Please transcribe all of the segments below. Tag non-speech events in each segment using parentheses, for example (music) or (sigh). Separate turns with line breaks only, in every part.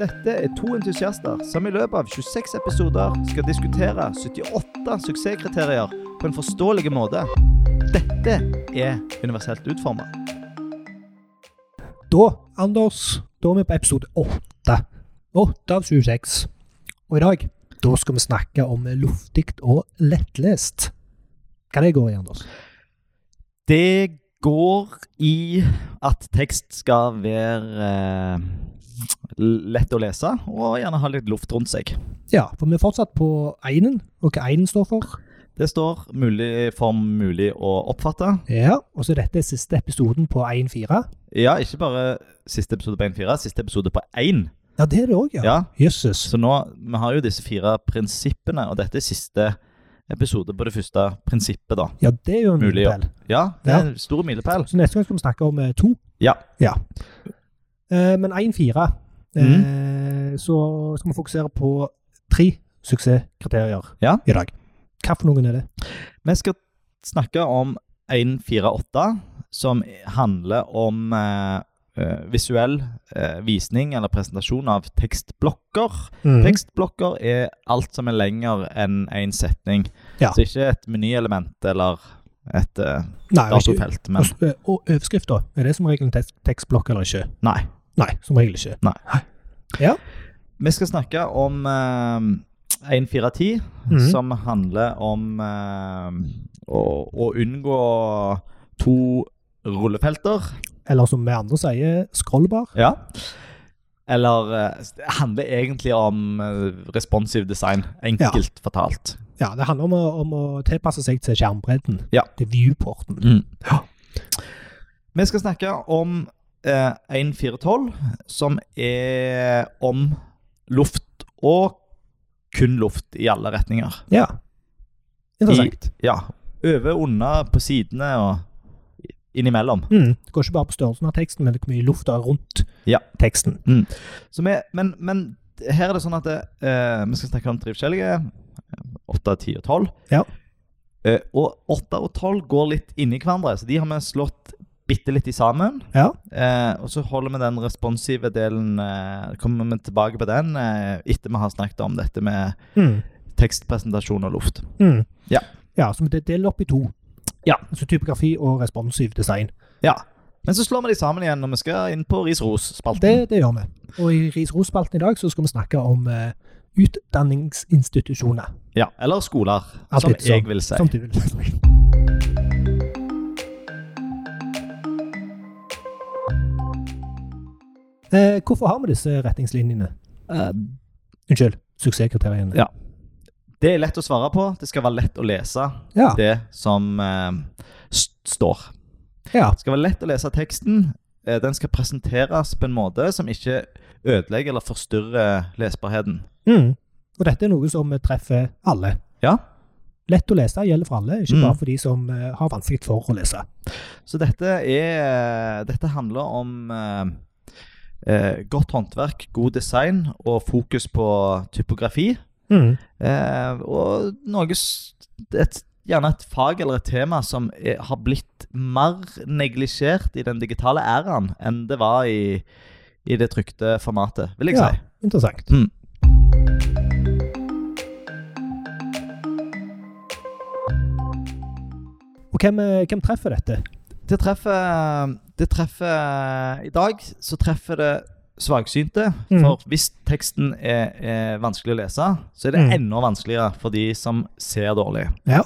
Dette er to entusiaster som i løpet av 26 episoder skal diskutere 78 suksesskriterier på en forståelig måte. Dette er universelt utforma.
Da, Anders, da er vi på episode 8. 8 av 26. Og i dag, da skal vi snakke om luftig og lettlest. Hva det går i, Anders?
Det går i at tekst skal være eh, lett å lese, og gjerne ha litt luft rundt seg.
Ja, for vi er fortsatt på einen, og hva einen står for.
Det står mulig for mulig å oppfatte.
Ja, og så dette er siste episoden på 1-4.
Ja, ikke bare siste episode på 1-4, siste episode på 1.
Ja, det er det òg, ja.
Ja,
Jøsses.
Så nå, vi har jo disse fire prinsippene, og dette er siste episode på det første prinsippet, da.
Ja, det er jo en
Mulig, ja.
milepæl.
Ja, det er en stor milepæl.
Så neste gang skal vi snakke om eh, to.
Ja.
ja. Eh, men 1-4, eh,
Mm.
så skal vi fokusere på tre suksesskriterier
Ja.
i dag. Hva for noen er det?
Vi skal snakke om 148, som handler om eh, eh, visuell eh, visning eller presentasjon av tekstblokker.
Mhm.
Tekstblokker er alt som er lenger enn én setning.
Ja.
Så ikke et menyelement eller et eh,
Nei, ikke.
datofelt,
(laughs)
men
Og, og overskrift, da? Er det som regel en tek- tekstblokk eller ikke?
nei.
Nei, som regel ikke.
Vi skal snakke om eh, 1410,
Mhm.
som handler om eh, å, å unngå to rullefelter.
Eller som vi andre sier, scrollbar.
Ja. Eller eh, det handler egentlig om eh, responsive design, enkelt fortalt.
Ja, det handler om å, om å tilpasse seg til skjermbredden.
Ja.
Til viewporten. Ja.
Vi skal snakke om eh, 1412, som er om luft og kun luft i alle retninger.
Ja. Interessant.
Ja. Over, under, på sidene og innimellom.
Mm. Det går ikke bare på størrelsen av teksten, men det er hvor mye luft det er rundt
Ja. Mm.
teksten.
Så vi, men, men her er det sånn at eh, vi skal snakke om tre forskjellige. 8, 10 og 12.
Ja.
Eh, og 8 og 12 går litt inni hverandre, så de har vi slått bitte litt i sammen.
Ja.
Eh, og så holder vi den responsive delen eh, Kommer vi tilbake på den eh, etter vi har snakket om dette med
Mm.
tekstpresentasjon og luft.
Mm.
Ja.
ja, så det deler opp i to.
Ja.
Altså typografi og responsiv design.
Ja. Men så slår vi de sammen igjen når vi skal inn på ris-ros-spalten.
Det, det gjør vi. Og i RIS-ROS-spalten i dag så skal vi snakke om eh, utdanningsinstitusjoner.
Ja, eller skoler,
Alt
som
etter som-
jeg vil si.
Som du vil. Eh, hvorfor har vi disse retningslinjene?
Eh,
Unnskyld, suksesskriteriene.
Ja. Det er lett å svare på. Det skal være lett å lese
Ja,
det som eh, st står.
ja.
Det skal være lett å lese teksten. Eh, Den skal presenteres på en måte som ikke ødelegger eller forstyrrer lesbarheten.
Mm. Og dette er noe som eh, treffer alle.
Ja.
Lett å lese gjelder for alle, ikke
Mm.
bare for de som eh, har vanskelig for å lese.
Så dette er eh, Dette handler om eh, eh, godt håndverk, god design og fokus på typografi.
Mm.
Eh, og noe s- et, Gjerne et fag eller et tema som er, har blitt mer neglisjert i den digitale æraen enn det var i, i det trykte formatet, vil jeg
Ja.
si.
Interessant.
Mm.
Og hvem, eh, hvem treffer dette?
Det treffer, det treffer I dag så treffer det svaksynte.
Mhm.
For hvis teksten er, er vanskelig å lese, så er det
Mhm.
enda vanskeligere for de som ser dårlig.
Ja.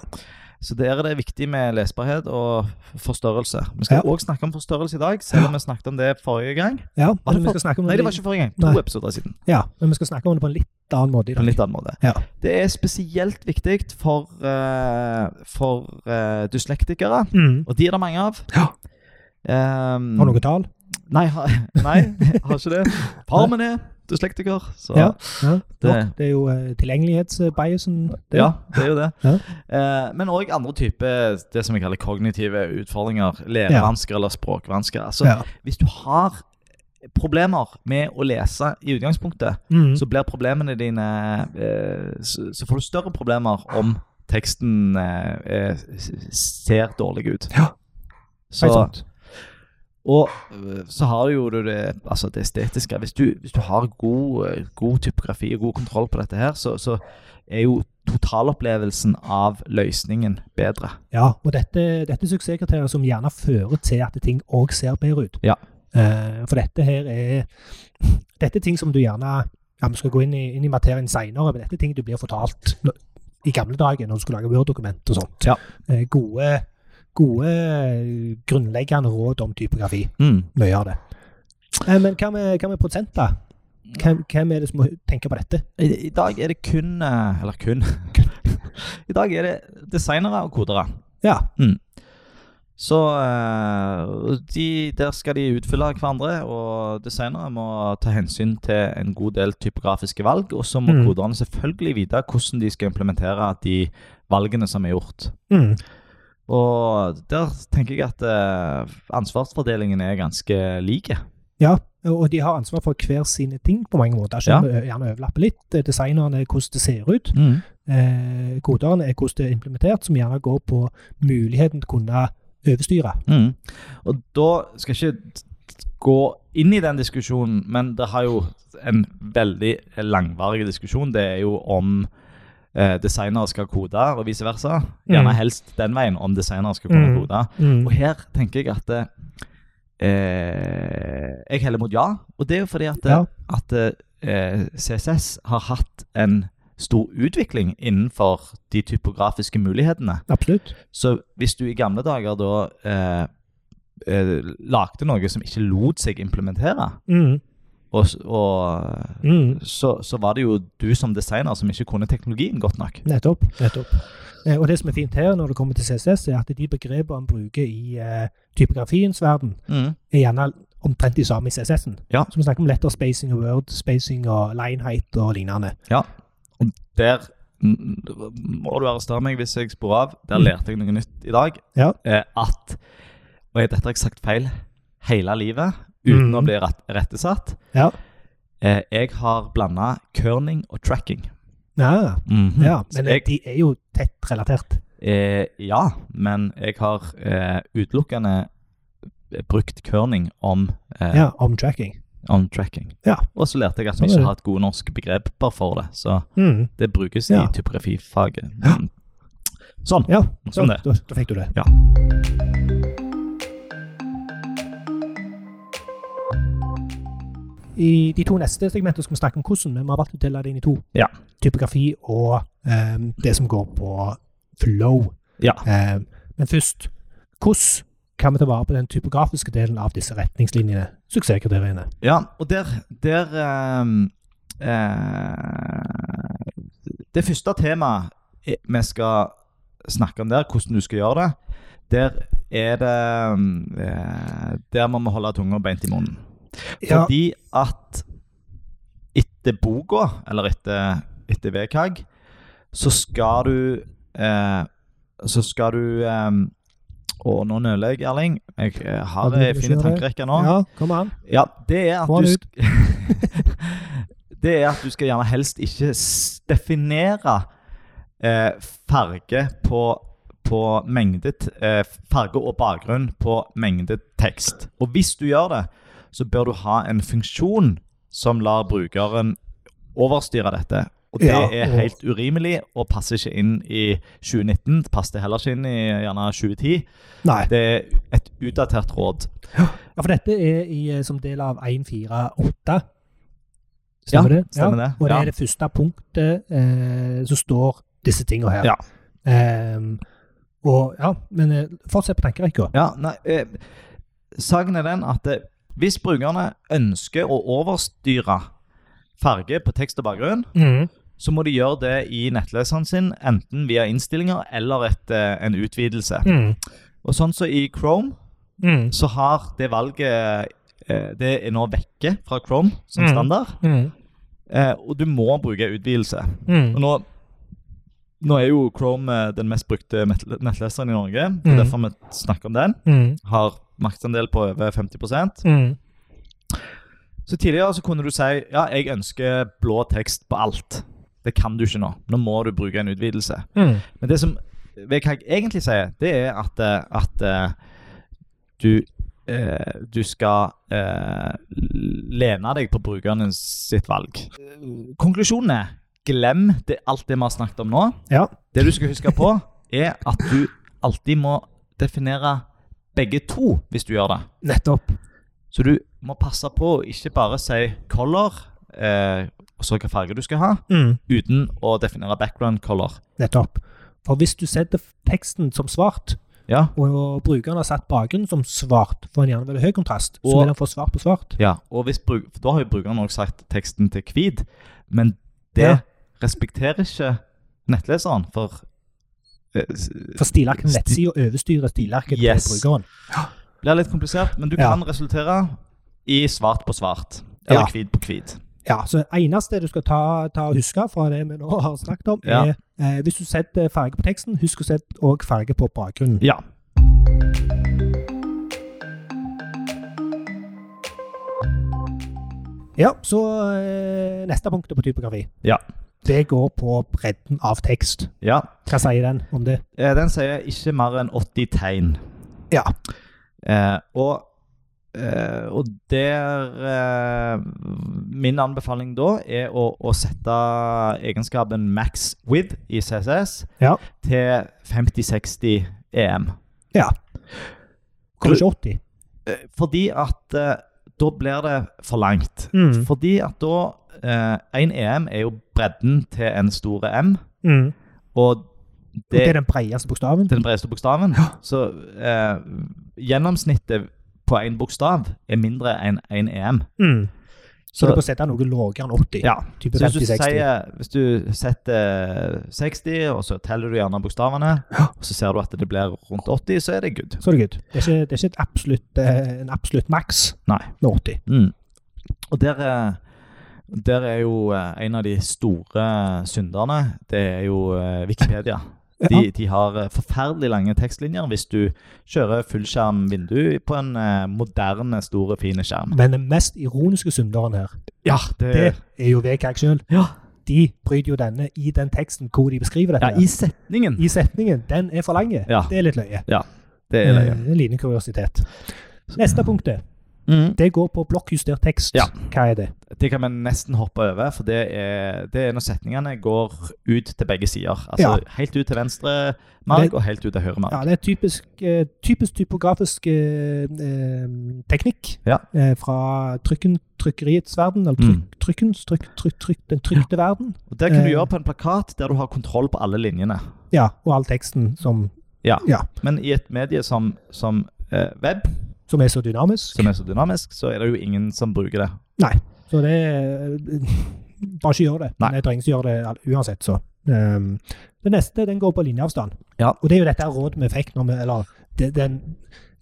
Så der er det viktig med lesbarhet og forstørrelse. Vi skal
Ja.
òg snakke om forstørrelse i dag, selv om vi snakket om det forrige gang.
Ja,
Var det
men vi
for-
skal snakke om
Nei, det
i-
var ikke forrige gang. To
Nei.
episoder siden.
Ja, men vi skal snakke om det på en litt annen måte i
På en
dag.
litt annen måte.
Ja.
Det er spesielt viktig for, eh, for eh, dyslektikere,
Mm.
og de er det mange av.
Ja.
Ehm,
Har du noe tall?
Nei, ha, nei, jeg har ikke det. Far min er dyslektiker, så ja.
Ja. Ja.
Det-
Det er jo eh, tilgjengelighetsbiasen. det.
det er jo det.
Ja.
Eh, men òg andre typer det som vi kaller kognitive utfordringer. Lærevansker eller språkvansker. Altså,
Ja.
Hvis du har problemer med å lese i utgangspunktet,
Mm.
så blir problemene dine eh, så, så får du større problemer om teksten eh, eh, s- ser dårlig ut.
Ja,
Så,
Helt sant.
Og øh, så har du jo det, altså det estetiske. Hvis du, hvis du har god, øh, god typografi og god kontroll på dette her, så, så er jo totalopplevelsen av løsningen bedre.
Ja, og dette, dette er suksesskriterier som gjerne fører til at ting òg ser bedre ut.
Ja.
Eh, for dette her er Dette er ting som du gjerne ja, Vi skal gå inn i, inn i materien seinere, men dette er ting du blir fortalt nå- i gamle dager når du skulle lage Word-dokument og sånt.
Ja.
Eh, gode, gode eh, grunnleggende råd om typografi.
Mm.
Mye av det. Eh, men hva med, hva med prosenter? Hvem, hvem er det som må tenke på dette?
I, I dag er det kun eh, Eller kun (laughs) I dag er det designere og kodere.
Ja.
Så eh, de, der skal de utfylle hverandre, og designere må ta hensyn til en god del typografiske valg. Og så må
Mm.
koderne selvfølgelig vite hvordan de skal implementere de valgene som er gjort.
Mm.
Og der tenker jeg at eh, ansvarsfordelingen er ganske lik.
Ja, og de har ansvar for hver sine ting på mange måter. Selv om det gjerne overlapper litt. eh, Designerne er hvordan det ser ut. Eh, koderne er hvordan det er implementert, som gjerne går på muligheten til å kunne overstyre.
Mm. Og da skal jeg ikke gå inn i den diskusjonen, men det har jo en veldig langvarig diskusjon. Det er jo om eh, designere skal kode, og vice versa. Gjerne
Mm.
helst den veien, om designere skal kunne
Mm.
kode. Og her tenker jeg at eh, jeg heller mot ja. Og det er jo fordi at,
Ja.
at eh, CSS har hatt en stor utvikling innenfor de typografiske mulighetene.
Absolutt.
Så hvis du i gamle dager da eh, eh, lagde noe som ikke lot seg implementere,
Mm.
og, s- og eh,
Mm.
så, så var det jo du som designer som ikke kunne teknologien godt nok.
Nettopp. Nettopp. Eh, og det som er fint her når det kommer til CCS, er at de begrepene en bruker i eh, typografiens verden,
Mm.
er gjerne omtrent de samme i CSS-en.
Ja.
Så vi snakker om letter spacing og word spacing og line height og lignende.
Og der mm, må du arrestere meg hvis jeg sporer av. Der
Mm.
lærte jeg noe nytt i dag.
Ja.
Eh, at Og dette har jeg sagt feil hele livet uten
Mm.
å bli rett, rettesatt.
Ja.
Eh, jeg har blanda kerning og tracking.
Ja.
Mhm.
Ja,
Så
Mm. men
jeg-
de er jo tett relatert.
Eh, ja, men jeg har eh, utelukkende brukt kerning om, eh,
Ja, om tracking.
om tracking.
Ja.
Og så lærte jeg at
Ja,
vi
det er
ikke
det.
har et gode norske begreper for det, så
Mm.
det brukes
Ja.
i typografifaget. Mm.
Ja.
Sånn.
Ja,
Sånn
da,
det.
da, da fikk du det.
Ja.
I de to neste segmentene skal vi snakke om hvordan, men vi har valgt å dele det inn i to.
Ja.
Typografi og eh, det som går på flow.
Ja.
Eh, men først, hvordan kan vi ta vare på den typografiske delen av disse retningslinjene? Suksesskriteriene.
Ja, og der, der ehm, eh, Det første temaet i- vi skal snakke om der, hvordan du skal gjøre det, der er det ehm, eh, Der må vi holde tunga beint i munnen.
Ja,
Fordi at etter boka, eller etter, etter VKG, så skal du eh, Så skal du ehm, Og nå nøler jeg, Erling. Jeg eh,
Ja,
har
du
ei
må
fin
ikke gjøre det.
tankerekke nå.
ja kom an.
Ja, det er at
Få
du
den
sk (laughs) Det er at du skal gjerne helst ikke s- definere eh, farge på på mengde t- eh, farge og bakgrunn på mengde tekst. Og hvis du gjør det, så bør du ha en funksjon som lar brukeren overstyre dette. Og det
Ja,
er
og-
helt urimelig og passer ikke inn i 2019. Det passer heller ikke inn i gjerne 2010.
Nei.
Det er et utdatert råd.
Ja, for dette er i, eh, som del av 148.
Ja, stemmer det.
Og det
Ja.
er det første punktet eh, som står disse tinga her.
Ja.
Ehm, og ja, men eh, fortsett på tankerekka.
Ja, nei, eh, saken er den at eh, hvis brukerne ønsker å overstyre farge på tekst og bakgrunn,
Mhm.
så må de gjøre det i nettleseren sin, enten via innstillinger eller et, eh, en utvidelse.
Mhm.
Og sånn som i Chrome,
Mhm.
så har det valget eh, Det er nå vekke fra Chrome som
Mm.
standard,
Mhm.
eh, og du må bruke utvidelse. Og
Mhm.
nå, nå er jo Chrome eh, den mest brukte mettle- nettleseren i Norge, det
Mm.
er derfor vi snakker om den.
Mhm.
Har markedsandel på over 50
Mhm.
Så tidligere så kunne du si ja, jeg ønsker blå tekst på alt. Det kan du ikke nå. Nå må du bruke en utvidelse.
Mhm.
Men det som VKG egentlig sier, det er at, eh, at eh, du eh, du skal eh, lene deg på brukeren sitt valg. Konklusjonen er glem det, alt det vi har snakket om nå.
Ja.
Det du skal huske på, er at du alltid må definere begge to hvis du gjør det.
Nettopp.
Så du må passe på å ikke bare si color eh, og så hvilken farge du skal ha,
Mm.
uten å definere background color.
Nettopp. For hvis du setter teksten som svart,
Ja,
og brukeren har satt bakgrunnen som svart, for en gjerne veldig høy kontrast, så
Og-
vil han få svart på svart.
ja. og hvis bruk, for Da har jo brukeren også sagt teksten til hvit, men det
Ja.
respekterer ikke nettleseren, for eh, s-
For stilarken
Sti-
nettsida overstyrer stilarken
Yes.
til brukeren.
blir litt komplisert, men du
Ja.
kan resultere i svart på svart, eller
Ja.
hvit på hvit.
Ja, så det eneste du skal ta, ta og huske fra det vi nå har snakket om,
Ja.
er eh, hvis du setter farge på teksten, husk å sette òg farge på bakgrunnen.
Ja.
Ja, så eh, neste punkt er på typografi.
Ja.
Det går på bredden av tekst.
ja.
Hva sier den om det?
Eh, Den sier ikke mer enn 80 tegn.
Ja.
Eh, og, eh, og der eh, Min anbefaling da er å, å sette egenskapen max width i CSS
Ja.
til E 50-60 EM.
Ja. Kommer ikke 80.
Eh, Fordi at eh, da blir det for langt.
Mm.
Fordi at da eh, Én EM er jo bredden til en store M,
Mm.
og
Det,
det
er den bredeste bokstaven.
til den bredeste bokstaven. Så eh, gjennomsnittet på én bokstav er mindre enn én EM.
Mm. Så,
Så-
du bør sette noe lavere enn 80.
Ja.
Type
Så hvis du,
50-60.
sier, hvis du setter 60, og så teller du gjerne bokstavene, og så ser du at det blir rundt 80, så er det good.
Så er det good. Det er ikke, det er ikke et absolutt, eh, en absolutt maks
Nei.
med 80.
Mm. Og der er, der er jo eh, en av de store synderne, det er jo eh, Wikipedia.
Ja.
De, de har eh, forferdelig lange tekstlinjer hvis du kjører fullskjermvindu på en eh, moderne, store, fine skjerm.
Men den mest ironiske synderen her,
Ja, det,
det er jo VKG sjøl.
Ja.
De bryter jo denne i den teksten hvor de beskriver dette.
ja, i setningen.
I setningen. Den er for lang.
Ja.
Det er litt løye.
Det er løye.
Eh, En liten kuriositet. Neste punktet.
Mm.
Det går på blokkjustert tekst.
Ja.
Hva er det?
Det kan vi nesten hoppe over, for det er, det er når setningene går ut til begge sider. Altså
Ja.
helt ut til venstre marg
Det-
og helt ut til høyre marg.
Ja, det er typisk, eh, typisk typografisk eh, eh, teknikk
Ja.
eh, fra trykken, trykkeriets verden, eller tryk,
Mm.
trykkens, trykk, trykk, trykk, den trykte verden.
Og Det kan du
eh,
gjøre på en plakat der du har kontroll på alle linjene.
Ja, og all teksten som,
Men i et medie som, som eh, web,
som er så dynamisk.
som er så dynamisk, så er det jo ingen som bruker det.
Så det er Bare ikke gjør det.
Nei.
Jeg trenger ikke gjøre det all- uansett, så. Um, det neste den går på linjeavstand.
Ja.
Og det er jo dette rådet vi fikk når vi Eller det, den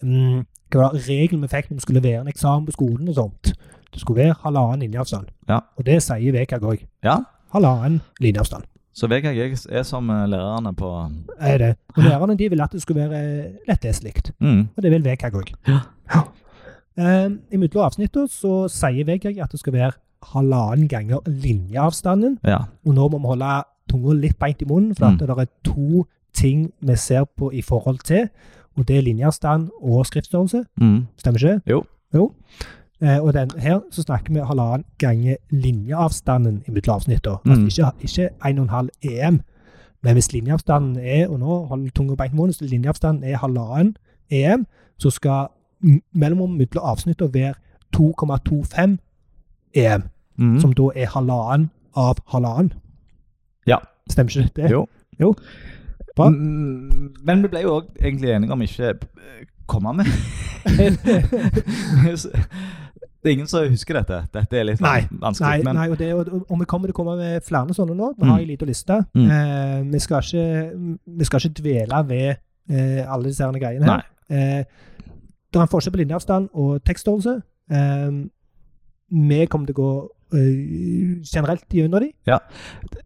mm, hva var det, regelen vi fikk når vi skulle levere en eksamen på skolen og sånt. Det skulle være halvannen linjeavstand.
Ja.
Og det sier Vekag òg.
Ja,
halvannen linjeavstand.
så VKG er som eh, lærerne på
Er det. Og lærerne de ville at det skulle være lettleselig,
mm,
og det vil Vegag òg.
Ja.
Um, I mellom avsnittene så sier Vegag at det skal være halvannen ganger linjeavstanden,
Ja.
og nå må vi holde tunga litt beint i munnen, for at det er to ting vi ser på i forhold til, og det er linjeavstand og skriftstørrelse.
Mm,
Stemmer ikke? det?
Jo.
jo. Eh, og den, her så snakker vi halvannen gange linjeavstanden i midtelavsnittet.
Mm.
Altså ikke, ikke 1,5 EM. E Men hvis linjeavstanden er, og nå hold tunga beint i munnen, så linjeavstanden er halvannen EM, så skal m- mellomrommet mellom avsnittene være 2,25 EM,
mm.
E som da er halvannen av halvannen.
Ja.
Stemmer ikke det?
Jo.
Eh, Jo. Bra.
Mm, Men vi ble jo òg egentlig enige om ikke eh, komme
(laughs)
med. det er ingen som husker dette. Dette er litt sånn
Nei,
vanskelig.
Nei,
men
nei og, det, og, og vi kommer til å komme med flere sånne nå. Vi har
Mm.
en liten liste.
Mm.
Eh, vi, skal ikke, mm, vi skal ikke dvele ved eh, alle disse her greiene. her. Eh, det er en forskjell på linjeavstand og tekststørrelse. Eh, vi kommer til å gå eh, generelt gjennom de.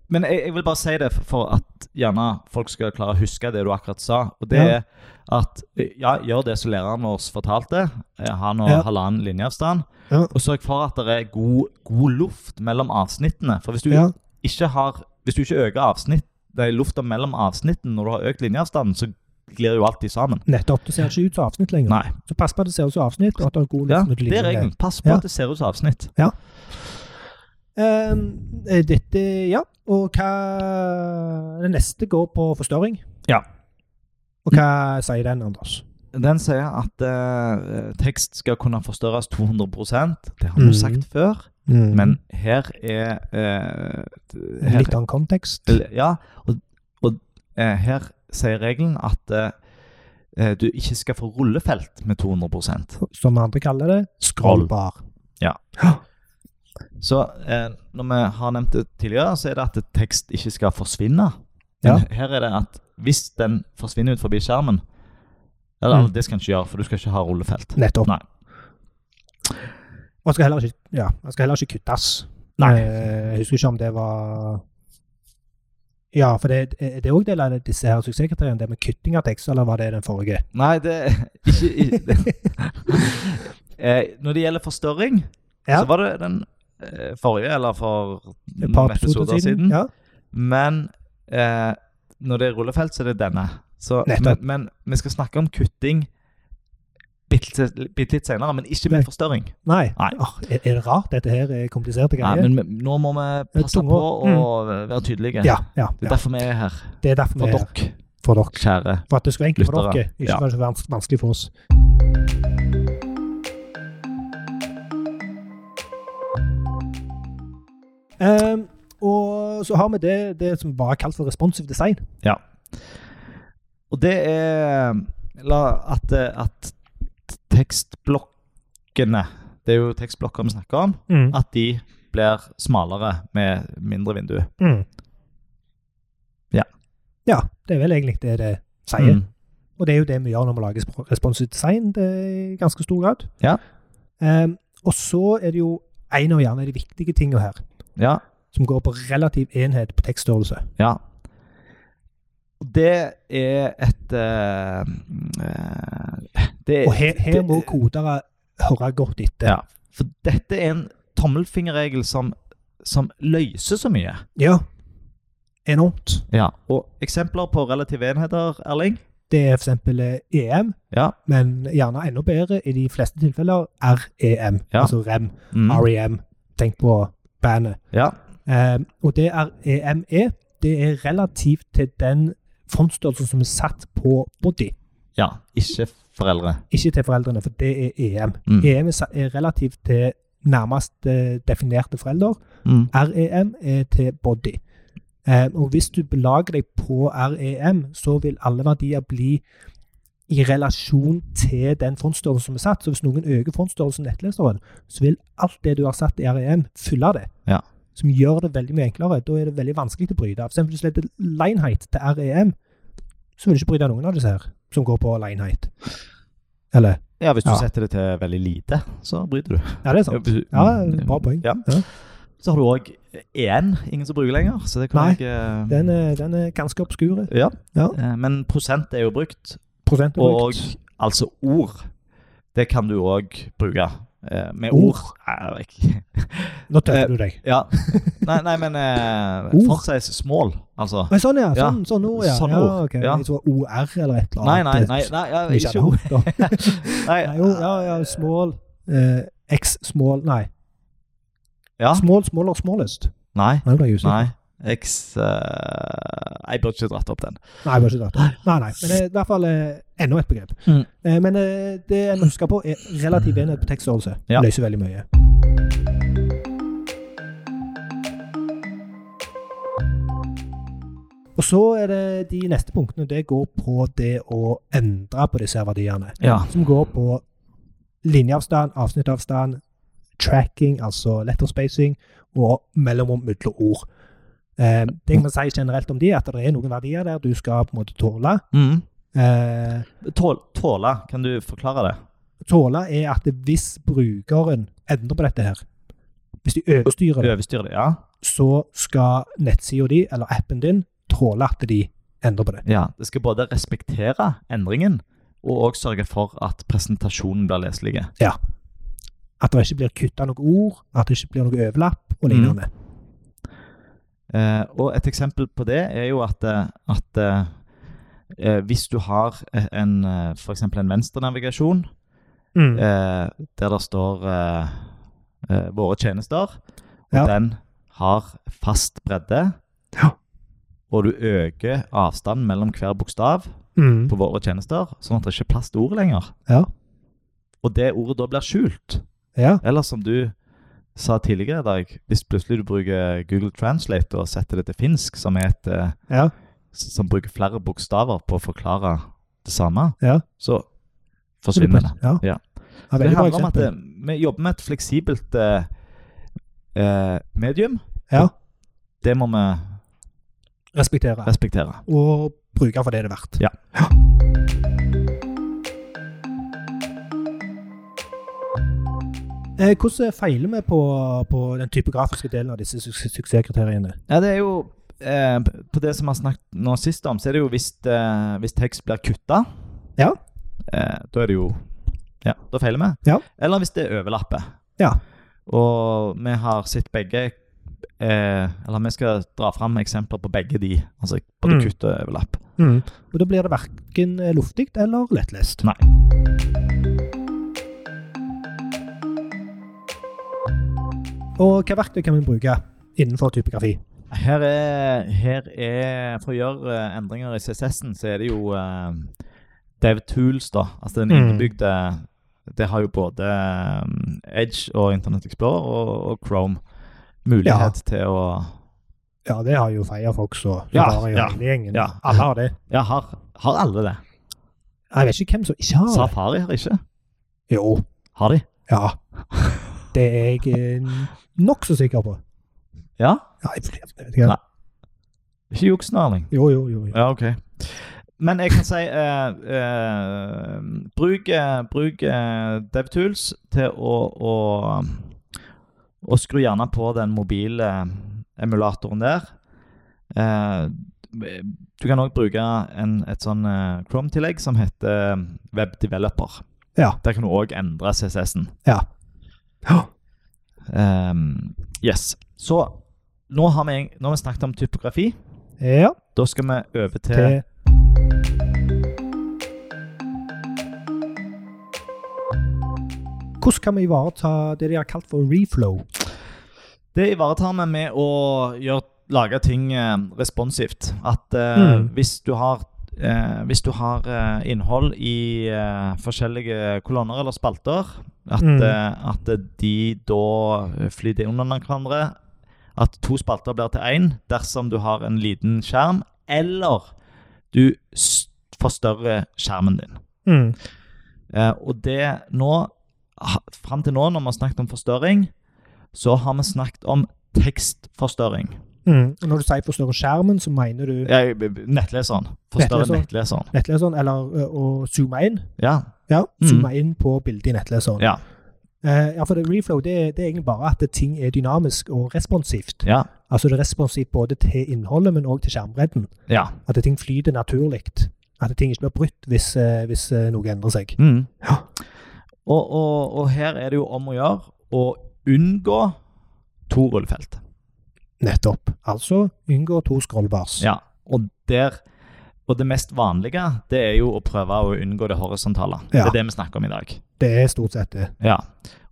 Men jeg, jeg vil bare si det for- for at gjerne folk skal klare å huske det du akkurat sa. Og det
Ja.
er at eh, ja, gjør det som læreren vår fortalte. eh, Ha nå
Ja.
halvannen linjeavstand.
Ja.
Og sørg for at det er god, god luft mellom avsnittene. For hvis du
Ja.
ikke har Hvis du ikke øker avsnitt, det er lufta mellom avsnittene når du har økt linjeavstanden, så glir jo alltid sammen.
Nettopp. Det ser ikke ut som avsnitt lenger.
Nei.
Så pass på at det ser ut som avsnitt. og at det er god
Ja,
liksom,
det er regelen. Pass på
Ja.
at det ser ut som avsnitt.
Ehm, eh, dette, ja. Og hva Det neste går på forstørring.
Ja.
Og hva sier den, Anders?
Den sier at eh, tekst skal kunne forstørres 200 Det har vi jo
Mhm.
sagt før, men her er eh, her,
Mm. Litt annen kontekst.
Ja, og, og eh, her sier regelen at eh, eh, du ikke skal få rullefelt med 200
Som andre kaller det, scrollbar.
Så eh, når vi har nevnt det tidligere, så er det at tekst ikke skal forsvinne. Men
Ja.
her er det at hvis den forsvinner ut forbi skjermen Eller
Mm.
det skal den ikke gjøre, for du skal ikke ha rullefelt.
Nettopp.
Nei.
Og skal heller ikke, ja, den skal heller ikke kuttes.
Nei.
Eh, Jeg husker ikke om det var Ja, for det, det er òg del av disse her suksesskriteriene, det med kutting av tekst, eller var det den forrige?
Nei, det ikke, i-
(laughs)
eh, Når det gjelder forstørring,
Ja.
så var det den eh, forrige, eller for
Et par episoder siden. Ja.
Men eh, når det er rullefelt, så er det denne. Så, men,
Nettopp.
men vi skal snakke om kutting bitte, bitte litt senere, men ikke
Nei.
med forstørring.
Nei.
Nei.
Åh, er, er det rart dette her er kompliserte
Nei,
greier?
men vi- nå må mm. vi passe
tunga.
på å være tydelige.
ja, ja,
Det er
ja.
derfor vi er her.
Det er derfor
For
vi er her.
dere,
for dere.
kjære.
For at det skulle være enkelt for
Lyttere.
dere, ikke
Ja.
for at det skulle være vans- vanskelig for oss. Ehm, og så har vi det, det som bare er kalt for responsive design.
Og det er la, at, at tekstblokkene Det er jo tekstblokker vi snakker om. At de blir smalere med mindre vindu.
Mm.
Ja.
Ja, det er vel egentlig det det sier.
Mm.
Og det er jo det vi gjør når vi lager sp- responsive design det er i ganske stor grad.
Ja.
Ehm, og så er det jo en av gjerne de viktige tingene her,
Ja.
som går på relativ enhet på tekststørrelse.
Ja. Og Det er et eh, eh, det,
Og her, her
det-
må kodere høre godt etter.
Ja. For dette er en tommelfingerregel som, som løser så mye.
Ja. Enormt.
Ja. Og eksempler på relative enheter, Erling?
Det er f.eks. EM,
Ja.
E men gjerne enda bedre i de fleste tilfeller REM,
Ja.
altså REM.
Mm.
REM. E Tenk på bandet.
ja.
Ehm, og det REM er, E, det er relativt til den fondsstørrelsen som er satt på body,
Ja. Ikke foreldre.
ikke til foreldrene, for det er E EM.
Mm.
EM er, sa- er relativt til nærmest eh, definerte forelder,
Mm.
REM er til body. Ehm, og hvis du belager deg på REM, så vil alle verdier bli i relasjon til den fondsstørrelsen som er satt. Så hvis noen øker fondsstørrelsen i nettleseren, så vil alt det du har satt i REM, fylle det.
Ja.
Som gjør det veldig mye enklere. Da er det veldig vanskelig til å bryte. For eksempel hvis du sletter line height til REM, så vil du ikke bryte noen av disse her, som går på line height. Eller?
Ja, hvis du
Ja.
setter det til veldig lite, så bryter du. Mm.
Ja, det er sant. Ja,
eh,
bra poeng.
Ja.
Ja.
Så har du òg EN, ingen som bruker lenger. Så det kan
Nei.
jeg eh,
Den er, den er ganske obskure.
ja.
Ja.
Eh, Men prosent er jo brukt.
Prosent er
Og
brukt.
altså ord, det kan du òg bruke. Eh, med
Ord?
ord. Nei, jeg vet ikke. (laughs)
Nå
eh,
tøffer du deg.
Ja. Nei, nei, men eh,
Ord?
font size small, altså.
Men sånn, ja.
Ja.
Sånn, sånn ord, ja.
Sånn
ja,
ord,
ok.
ja.
Jeg tror OR eller et eller
Nei, nei,
annet.
nei, nei, ja,
Vi
ikke ord.
kjenner ord, da.
Nei,
Nei, jo, ja, ja, small. Eh, X small, nei.
Ja.
Small, smaller, smallest.
Nei.
Nei, det ble jeg usikker.
nei. X eh, Jeg burde ikke dratt opp den.
Nei, jeg var ikke det. Nei, nei. Men det er i hvert fall eh, enda et begrep.
Mm.
Eh, men eh, det en husker på, er relativ enhet på tekststørrelse.
Ja.
Løser veldig mye. Og så er det de neste punktene. Det går på det å endre på disse her verdiene.
Ja.
Som går på linjeavstand, avsnittavstand, tracking, altså letterspacing, og mellomrom mellom ord. Eh, det jeg må si generelt om de, er at det er noen verdier der du skal på en måte tåle.
Mm.
Eh,
Tål, tåle, kan du forklare det?
tåle er at hvis brukeren endrer på dette her, hvis de overstyrer det,
Overstyre det, ja?
så skal nettsida di eller appen din tåle at de endrer på det.
ja? Det skal både respektere endringen og òg sørge for at presentasjonen blir leselig.
At det ikke blir kutta noen ord, at det ikke blir noe overlapp og
Mm.
lignende.
Eh, og et eksempel på det er jo at, eh, at eh, eh, hvis du har en, eh, for eksempel en venstrenavigasjon
Mm.
eh, der det står eh, eh, våre tjenester, og
Ja.
den har fast bredde,
Ja.
og du øker avstanden mellom hver bokstav
Mm.
på våre tjenester, sånn at det ikke er plass til ordet lenger.
Ja.
Og det ordet da blir skjult.
Ja.
Eller som du sa tidligere i dag, hvis plutselig du bruker Google Translate og setter det til finsk, som, er et, eh,
Ja.
s- som bruker flere bokstaver på å forklare det samme,
Ja.
så forsvinner det.
Ja.
Ja.
Ja,
Så det
veldig bra
handler om at
eksempel.
eh, vi jobber med et fleksibelt eh, eh, medium.
Ja.
Det må vi
Respektere.
respektere.
og bruke for det det er verdt.
Ja.
Eh, Hvordan feiler vi på, på den typografiske delen av disse su su suksesskriteriene?
Ja, det er jo eh, På det som vi har snakket nå sist om, så er det jo hvis, eh, hvis tekst blir kutta
Ja.
eh, Da er det jo Ja, da feiler vi.
Ja.
Eller hvis det overlapper.
Ja.
Og vi har sett begge eh, Eller vi skal dra fram eksempler på begge de. Altså både
Mm.
kutt og overlapp.
Og Da blir det verken luftig eller lettlest.
Mm. Nei.
Og hva verktøy kan vi bruke innenfor typografi?
Her er, her er For å gjøre eh, endringer i CSS-en, så er det jo eh, DevTools, da. Altså den
Mm.
innebygde Det har jo både eh, Edge og Internet Explorer og, og Chrome
Ja.
mulighet til å
Ja, det har jo Firefox og
Ja,
Safari og
ja,
hele gjengen.
ja.
Alle har det.
Ja, har, har alle det?
Jeg vet ikke hvem som ikke har det.
Safari har ikke.
Jo,
Har de?
ja. (laughs) Det er jeg eh, nokså sikker på.
Ja?
Ja, jeg jeg vet ikke.
Nei. Ikke juks nå, Erling.
Jo, jo, jo. jo.
Ja, ok. Men jeg kan si eh, eh, Bruk, eh, bruk eh, DevTools til å, å, å skru gjerne på den mobile eh, emulatoren der. Eh, du kan òg bruke en, et sånn eh, Chrome-tillegg som heter eh, Web Developer.
Ja.
Der kan du òg endre CSS-en.
Ja. Ja.
Ehm, yes. Så nå har, vi, nå har vi snakket om typografi.
Ja,
Da skal vi over til
til Hvordan kan vi ivareta det de har kalt for reflow?
Det ivaretar vi med å gjøre, lage ting eh, responsivt. At eh,
Mm.
hvis du har, eh, hvis du har eh, innhold i eh, forskjellige kolonner eller spalter, at,
Mm.
eh, at de da flyter under hverandre. At to spalter blir til én dersom du har en liten skjerm, eller du s- forstørrer skjermen din. Eh, og det nå ha- Fram til nå, når vi har snakket om forstørring, så har vi snakket om tekstforstørring.
Mm. Og Når du sier forstørre skjermen, så mener du
Ja, nettleseren. Forstørre nettleseren.
Nettleseren. nettleseren, eller ø, å zoome inn?
Ja.
Ja,
Mm.
zoome inn på bildet i nettleseren.
Ja.
Eh, ja, for det, reflow det, er- det er egentlig bare at det, ting er dynamisk og responsivt.
Ja.
Altså det er responsivt både til innholdet, men òg til skjermbredden.
ja.
At det, ting flyter naturlig. At det, ting ikke blir brutt hvis, eh, hvis eh, noe endrer seg.
Mm.
Ja.
Og, og, og her er det jo om å gjøre å unngå to rullefelt.
Nettopp. Altså unngå to scrollbars.
Ja. Og der og det mest vanlige det er jo å prøve å unngå det horisontale. Det
Ja.
er det vi snakker om i dag.
Det er stort sett det.
Ja.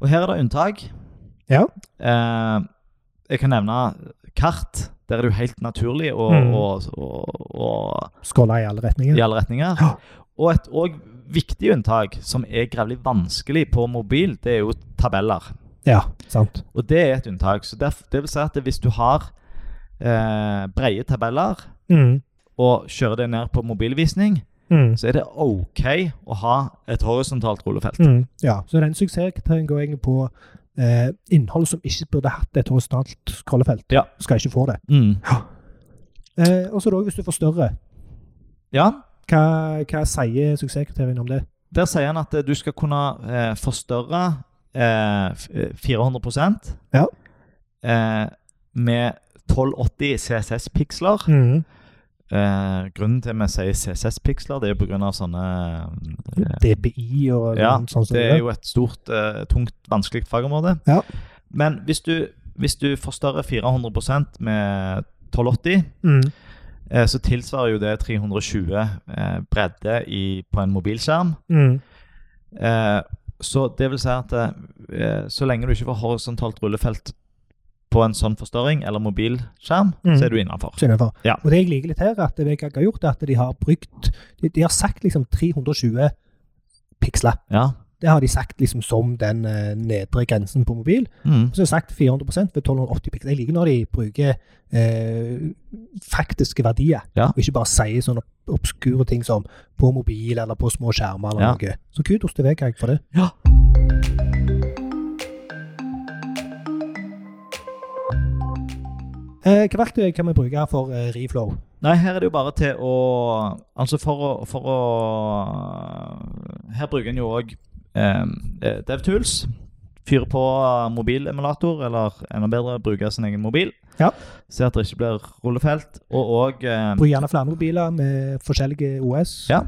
Og her er det unntak.
Ja.
Eh, jeg kan nevne kart. Der er det jo helt naturlig å,
Mm.
å, å, å,
Scrolle i alle retninger.
i alle retninger.
Ja.
Og et òg viktig unntak, som er gravelig vanskelig på mobil, det er jo tabeller.
Ja, sant.
Og det er et unntak. Så derf- det vil si at hvis du har eh, brede tabeller
Mm.
og kjører det ned på mobilvisning,
Mm.
så er det OK å ha et horisontalt rullefelt.
Mm. Ja, så den suksesskriterien går egentlig på eh, innhold som ikke burde hatt et horisontalt scrollefelt.
Ja.
Skal ikke få det.
Mm.
Eh, og så da, hvis du forstørrer,
Ja,
hva, hva sier suksesskriterien om det?
Der sier han at eh, du skal kunne eh, forstørre eh, f- eh, 400
Ja.
eh, med 1280 CSS-piksler.
Mm.
Eh, grunnen til at vi sier CSS-piksler, det er jo pga. sånne eh,
DPI og
Ja,
noe sånt som
Det
det
er jo et stort, eh, tungt, vanskelig fagområde.
Ja.
Men hvis du, hvis du forstørrer 400 med 1280,
Mm.
eh, så tilsvarer jo det 320 eh, bredde i, på en mobilskjerm.
Mm.
Eh, så det vil si at eh, så lenge du ikke får horisontalt rullefelt på en sånn forstørring eller mobilskjerm,
Mm.
så er du innafor.
Så innenfor.
Ja.
Og det jeg liker litt her, at VGG har gjort, er at de har brukt De, de har sagt liksom 320 piksler.
Ja.
Det har de sagt liksom som den eh, nedre grensen på mobil.
Mm.
Og så har jeg sagt 400 ved 1280 piksler. Jeg liker når de bruker eh, faktiske verdier,
Ja.
og ikke bare sier sånne ob- obskure ting som på mobil eller på små skjermer eller
Ja.
noe. Så kudos til Vegag for det.
Ja.
Eh, hva verktøy kan vi bruke for eh, Reflow?
Nei, her er det jo bare til å Altså for å, for å Her bruker en jo òg eh, eh, DevTools. Fyre på mobilemulator, eller enda bedre, bruke sin egen mobil.
Ja.
Se at det ikke blir rullefelt. Og òg eh,
Bruk gjerne flere mobiler med forskjellige OS.
Ja.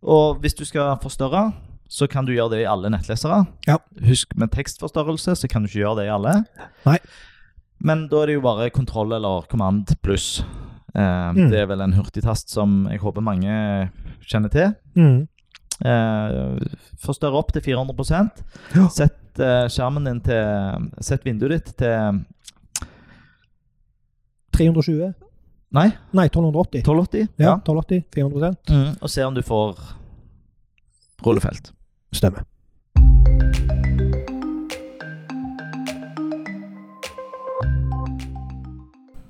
Og hvis du skal forstørre, så kan du gjøre det i alle nettlesere.
Ja.
Husk med tekstforstørrelse, så kan du ikke gjøre det i alle.
Nei.
Men da er det jo bare kontroll eller command pluss. Eh,
Mm.
Det er vel en hurtigtast som jeg håper mange kjenner til.
Mm.
Eh, forstørre opp til 400
Ja.
Sett eh, skjermen din til Sett vinduet ditt til
320?
Nei,
Nei, 1280.
1280.
Ja, 1280, 400
Mm, og se om du får rullefelt.
Stemmer.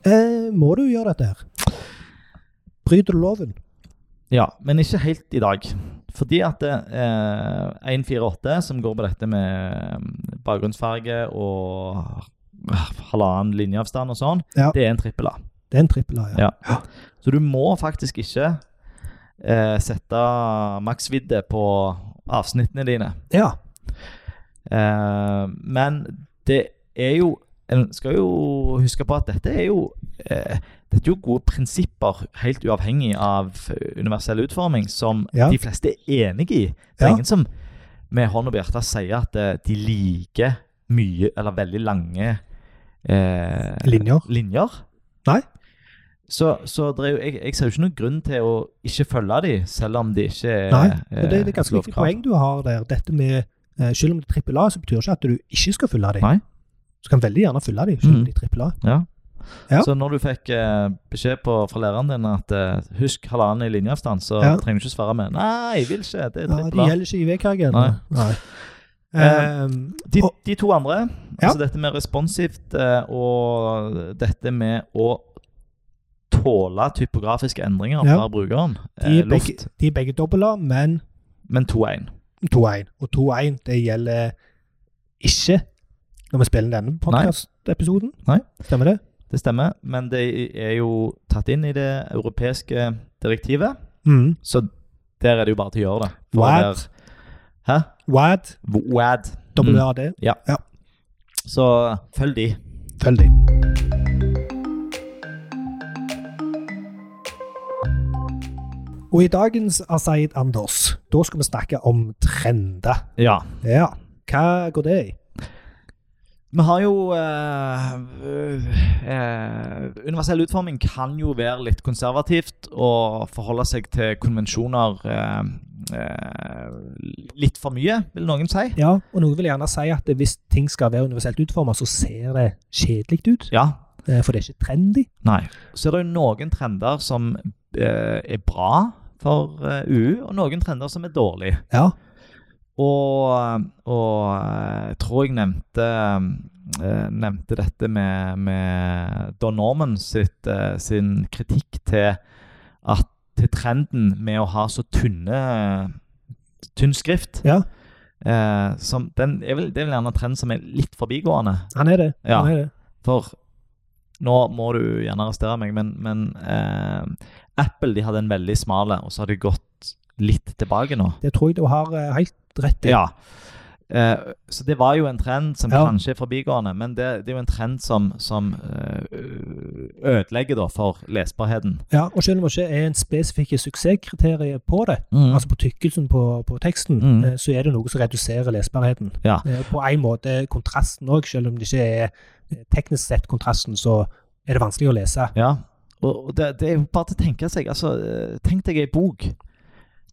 Eh, må du gjøre dette her? Bryter du loven?
Ja, men ikke helt i dag. Fordi at eh, 148, som går på dette med mm, bakgrunnsfarge og ah, halvannen linjeavstand og sånn,
Ja.
det er en trippel A.
Det er en trippel A, ja.
Ja. Så du må faktisk ikke eh, sette maksvidde på avsnittene dine.
ja.
Eh, men det er jo En skal jo huske på at dette er jo eh, dette er jo gode prinsipper, helt uavhengig av eh, universell utforming, som
Ja.
de fleste er enig i. Det er
Ja.
ingen som med hånd over hjertet sier at eh, de liker mye eller veldig lange eh,
Linjer.
linjer.
Nei.
Så, så det er jo, jeg, jeg ser jo ikke noen grunn til å ikke følge de, selv om de ikke er
Nei, Og det, det er
eh,
ganske viktig
lovkrav.
poeng du har der. Dette med, eh, selv om det er trippel A, så betyr ikke at du ikke skal fylle dem.
Nei.
Du kan veldig gjerne fylle dem, selv om
Mhm.
de er trippel A.
Ja.
Ja.
Så når du fikk eh, beskjed på, fra læreren din at eh, husk halvannen i linjeavstand, så
Ja.
trenger du ikke svare med nei, jeg vil ikke, det er
Ja, de
trippel A.
gjelder ikke i V-kargen.
Nei.
Nei.
(laughs) Eh,
Ehm,
De,
og-
de to andre,
Ja.
altså dette med responsivt eh, og dette med å tåle typografiske endringer
Ja.
fra brukeren,
de,
eh,
er begge,
luft,
de er begge dobbel A, men
men 2-1.
2-1. Og 2-1, det gjelder ikke når vi spiller denne podcast-episoden.
Nei.
Stemmer det?
Det stemmer, men det er jo tatt inn i det europeiske direktivet,
Mm.
så der er det jo bare til å gjøre det. For å
Wad,
være- Hæ?
Wad,
WAD. Mm.
WAD.
Så følg de.
Følg dem. Og i dagens Asaid Anders, da skal vi snakke om trender.
Ja.
Ja, hva går det i?
Vi har jo eh, eh, Universell utforming kan jo være litt konservativt og forholde seg til konvensjoner eh, eh, litt for mye, vil noen si.
Ja, og noen vil gjerne si at hvis ting skal være universelt utformet, så ser det kjedelig ut,
Ja.
eh, for det er ikke trendy.
Nei. Så er det jo noen trender som eh, er bra for eh, UU, og noen trender som er dårlige.
Ja,
Og, og eh, jeg tror jeg nevnte, eh, nevnte dette med, med Don Norman sitt, eh, sin kritikk til, at, til trenden med å ha så tynne tynn skrift.
Ja.
Eh, som, den er vel, det er vel gjerne en trend som er litt forbigående.
han er det.
Ja.
Han er det.
For nå må du gjerne arrestere meg, men, men eh, Apple de hadde en veldig smale, og så har de gått litt tilbake nå.
Det tror jeg du har eh, helt rett i.
Ja. Eh, så det var jo en trend som
Ja.
kanskje er forbigående, men det, det er jo en trend som, som eh, ødelegger da for lesbarheten.
Ja, og selv om det ikke er en spesifikke suksesskriterier på det, altså på tykkelsen på, på teksten,
Mm.
eh, så er det noe som reduserer lesbarheten.
Ja.
Eh, På en måte kontrasten òg, selv om det ikke er eh, teknisk sett kontrasten, så er det vanskelig å lese.
Ja. Og det, det er jo bare til å tenke seg altså, Tenk deg ei bok.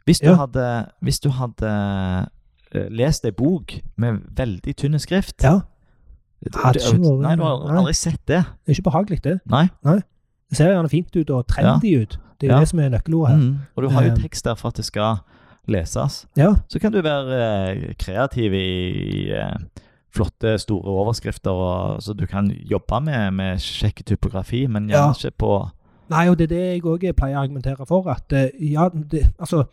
Hvis du
Ja.
hadde, hvis du hadde eh, lest ei bok med veldig tynn skrift
Ja,
du-
hadde
du-
ikke vært-
Nei, du har
nei.
aldri sett det.
det er ikke behagelig, det.
Nei.
Det ser gjerne fint ut og trendy ut. Det er jo
Ja.
det som er nøkkelordet her.
Mm. Og du har jo
Eh.
tekst der for at det skal leses.
Ja,
Så kan du være eh, kreativ i eh, flotte, store overskrifter, og, så du kan jobbe med, med kjekk typografi, men gjerne
Ja.
ikke på
Nei, og det er det jeg òg pleier å argumentere for. At eh, ja, det, altså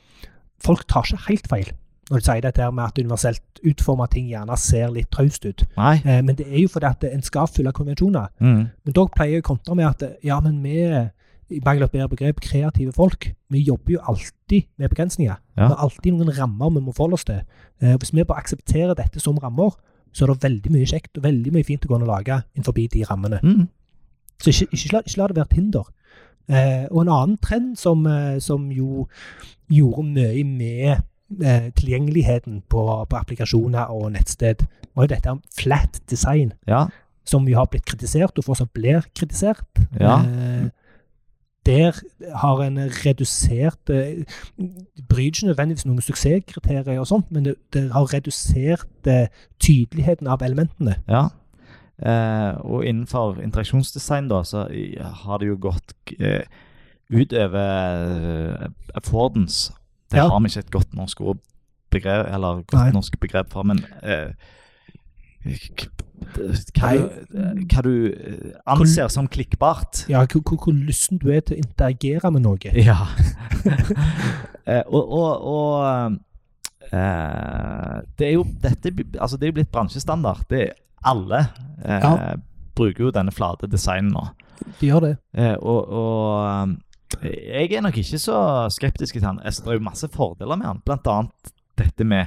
Folk tar ikke helt feil når de sier dette her med at universelt utforma ting gjerne ser litt traust ut.
Nei.
Eh, men det er jo fordi at en skal fylle konvensjoner.
Mm.
Men da pleier jeg å kontre med at eh, ja, men vi i mangel av et bedre begrep, kreative folk, vi jobber jo alltid med begrensninger.
Ja.
Det er alltid noen rammer vi må forholde oss til. Eh, hvis vi bare aksepterer dette som rammer, så er det veldig mye kjekt og veldig mye fint å gå an å lage innenfor de rammene.
Mm.
Så ikke, ikke, la, ikke la det være et hinder. Eh, og en annen trend som, eh, som jo gjorde mye med eh, tilgjengeligheten på, på applikasjoner og nettsted, var jo dette om flat design,
Ja.
som jo har blitt kritisert, og fortsatt blir kritisert.
ja.
Eh, der har en redusert eh, Det bryr ikke nødvendigvis noen suksesskriterier, og sånt, men det, det har redusert eh, tydeligheten av elementene.
Ja. Eh, og innenfor interaksjonsdesign da, så i- har det jo gått eh, utover eh, affordance. Det
Ja.
har vi ikke et godt norsk ord begrep, eller godt
Nei.
norsk begrep for, men eh, k- hva, du, hva du eh, anser som klikkbart.
Ja, hvor, hvor, hvor lysten du er til å interagere med noe.
Ja. (laughs) Eh, og og, og eh, det er jo dette Altså, det er jo blitt bransjestandard. Det er alle eh,
Ja.
bruker jo denne flate designen nå.
De gjør det.
Eh, og og eh, jeg er nok ikke så skeptisk til den. Altså, det er jo masse fordeler med den, blant annet dette med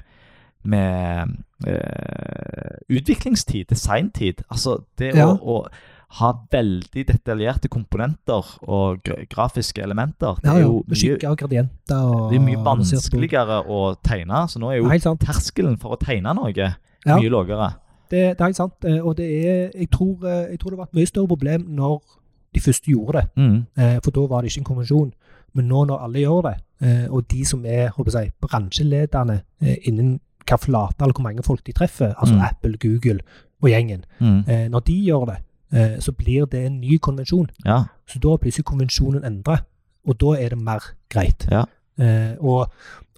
med eh, utviklingstid, designtid. Altså det
Ja.
å, å ha veldig detaljerte komponenter og gra- grafiske elementer. Det
Ja,
er
ja.
jo
Med
mye
skygger og gradienter og
det er mye
avansert-
vanskeligere å tegne, så nå er
Ja,
jo
Helt sant.
terskelen for å tegne noe
Ja.
mye lavere.
Det, det er helt sant. Eh, Og det er jeg tror, eh, jeg tror det var et mye større problem når de første gjorde det.
Mm.
Eh, For da var det ikke en konvensjon. Men nå når alle gjør det, eh, og de som er håper jeg, bransjelederne eh, innen hva flate eller hvor mange folk de treffer, altså
Mm.
Apple, Google og gjengen,
Mm.
eh, når de gjør det, eh, så blir det en ny konvensjon.
Ja.
Så da er plutselig konvensjonen endret, og da er det mer greit.
Ja.
Eh, og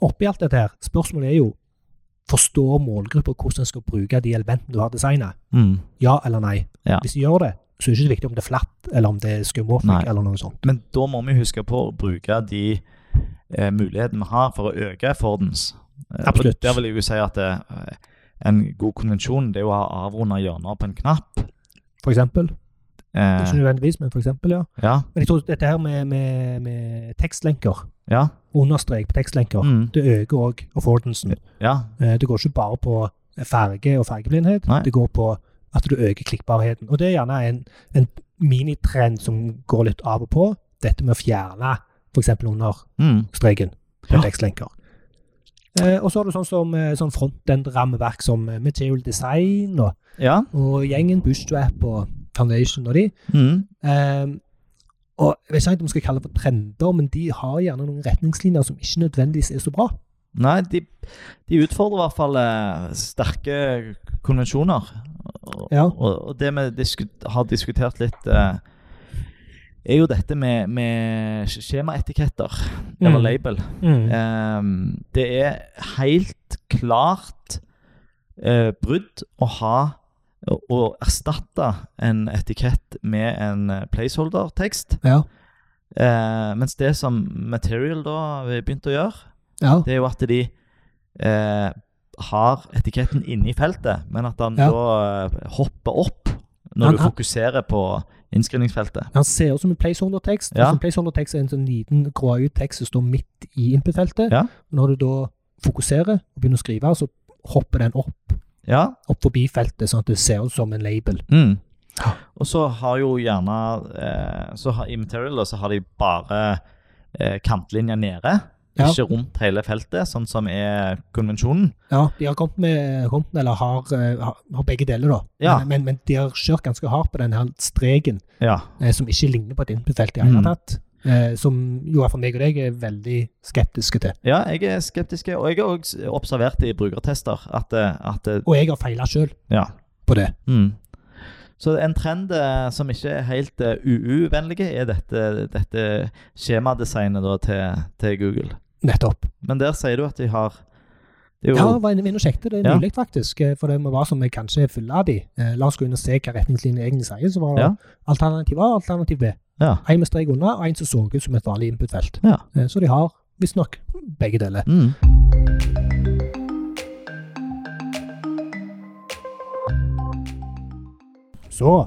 oppi alt dette her, spørsmålet er jo, forstår målgrupper hvordan en skal bruke de elementene du har designet?
Mm.
Ja eller nei?
Ja.
Hvis de gjør det, så er det ikke så viktig om det er flatt, eller om det er
Nei.
skumorfik, eller noe sånt.
Men da må vi huske på å bruke de eh, mulighetene vi har for å øke affordance. Eh, og
Absolutt.
Der vil jeg jo si at eh, en god konvensjon det er jo å ha avrunda hjørner på en knapp.
For eksempel.
Eh,
Ikke nødvendigvis, men for eksempel, ja.
ja.
Men jeg tror dette her med, med, med tekstlenker,
Ja.
understrek på tekstlenker,
Mm.
det øker også affordansen.
ja.
Eh, Det går ikke bare på farge og fargeblindhet,
Nei.
det går på at du øker klikkbarheten. Og det er gjerne en, en minitrend som går litt av og på, dette med å fjerne f.eks. under
Mm.
streken på
Ja.
tekstlenker. Eh, og så har du sånn som eh, sånn frontend-rammeverk som eh, Material Design og,
Ja.
og gjengen Bootstrap og Foundation og de.
Mm.
Ehm, og Jeg vet ikke om vi skal kalle det for trender, men de har gjerne noen retningslinjer som ikke nødvendigvis er så bra.
Nei, de, de utfordrer i hvert fall eh, sterke konvensjoner. Og,
Ja.
og, og det vi disku, har diskutert litt, eh, er jo dette med, med skjemaetiketter, eller
Mm.
label. Ehm, det er helt klart eh, brudd å ha å- å erstatte en etikett med en eh, placeholder-tekst.
Ja.
Eh, mens det som Material da begynte å gjøre,
ja.
det er jo at de eh, har etiketten inne i feltet, men at han
Ja.
da eh, hopper opp når
Han-
du
han-
fokuserer på innskrivningsfeltet.
Han ser ut som en placeholder-tekst.
Ja.
Altså, en placeholder-tekst er en sånn liten gråhøyd tekst som står midt i input-feltet.
Ja.
Når du da fokuserer og begynner å skrive, så hopper den opp,
Ja.
opp forbi feltet, sånn at det ser ut som en label.
Mm.
Ja.
Og så har jo gjerne eh, så har, I Material da, så har de bare eh, kantlinja nede.
Ja.
Ikke rundt hele feltet, sånn som er konvensjonen.
Ja, de har kommet med, kommet med eller har, eh, har, har begge deler, da.
Ja.
Men, men de har kjørt ganske hardt på den her streken,
Ja.
eh, som ikke ligner på et innbyttefelt i det hele
Mm.
tatt. Eh, som jo for meg og deg er veldig skeptiske til.
ja, jeg er skeptisk. Og jeg har også observert i brukertester at, eh, at eh,
Og jeg har feila sjøl
Ja.
på det.
Mm. Så en trend eh, som ikke er helt eh, UU-vennlig, er dette, dette skjemadesignet da, til, til Google.
Nettopp.
Men der sier du at de har det er
Ja,
jo,
var inne inne og sjekket det
Ja.
nylig, faktisk. eh, For det må være som vi kanskje er fulle av de. Eh, la oss gå inn og se hva retningslinjene egentlig sier. Så var det
Ja.
alternativ A og alternativ B.
ja.
Én med strek unna, og én som så ut som et vanlig input-felt.
Ja.
Eh, så de har visstnok begge deler.
Mm.
Så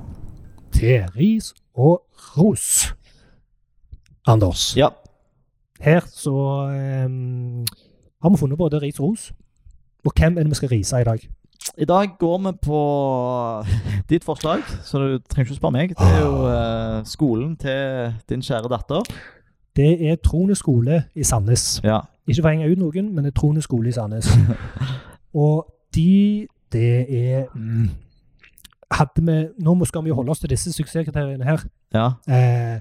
til ris og ros. Anders,
ja.
her så ehm, har vi funnet både ris og ros. Og hvem er det vi skal rise i dag?
I dag går vi på (laughs) ditt forslag, så du trenger ikke å spørre meg. Det er
Ah.
jo eh, skolen til din kjære datter.
Det er Trone skole i Sandnes.
Ja.
Ikke for å henge ut noen, men det er Trone skole i Sandnes. og de, det er mm, Hadde vi Nå må- skal vi jo holde oss til disse suksesskriteriene her.
Ja.
Eh,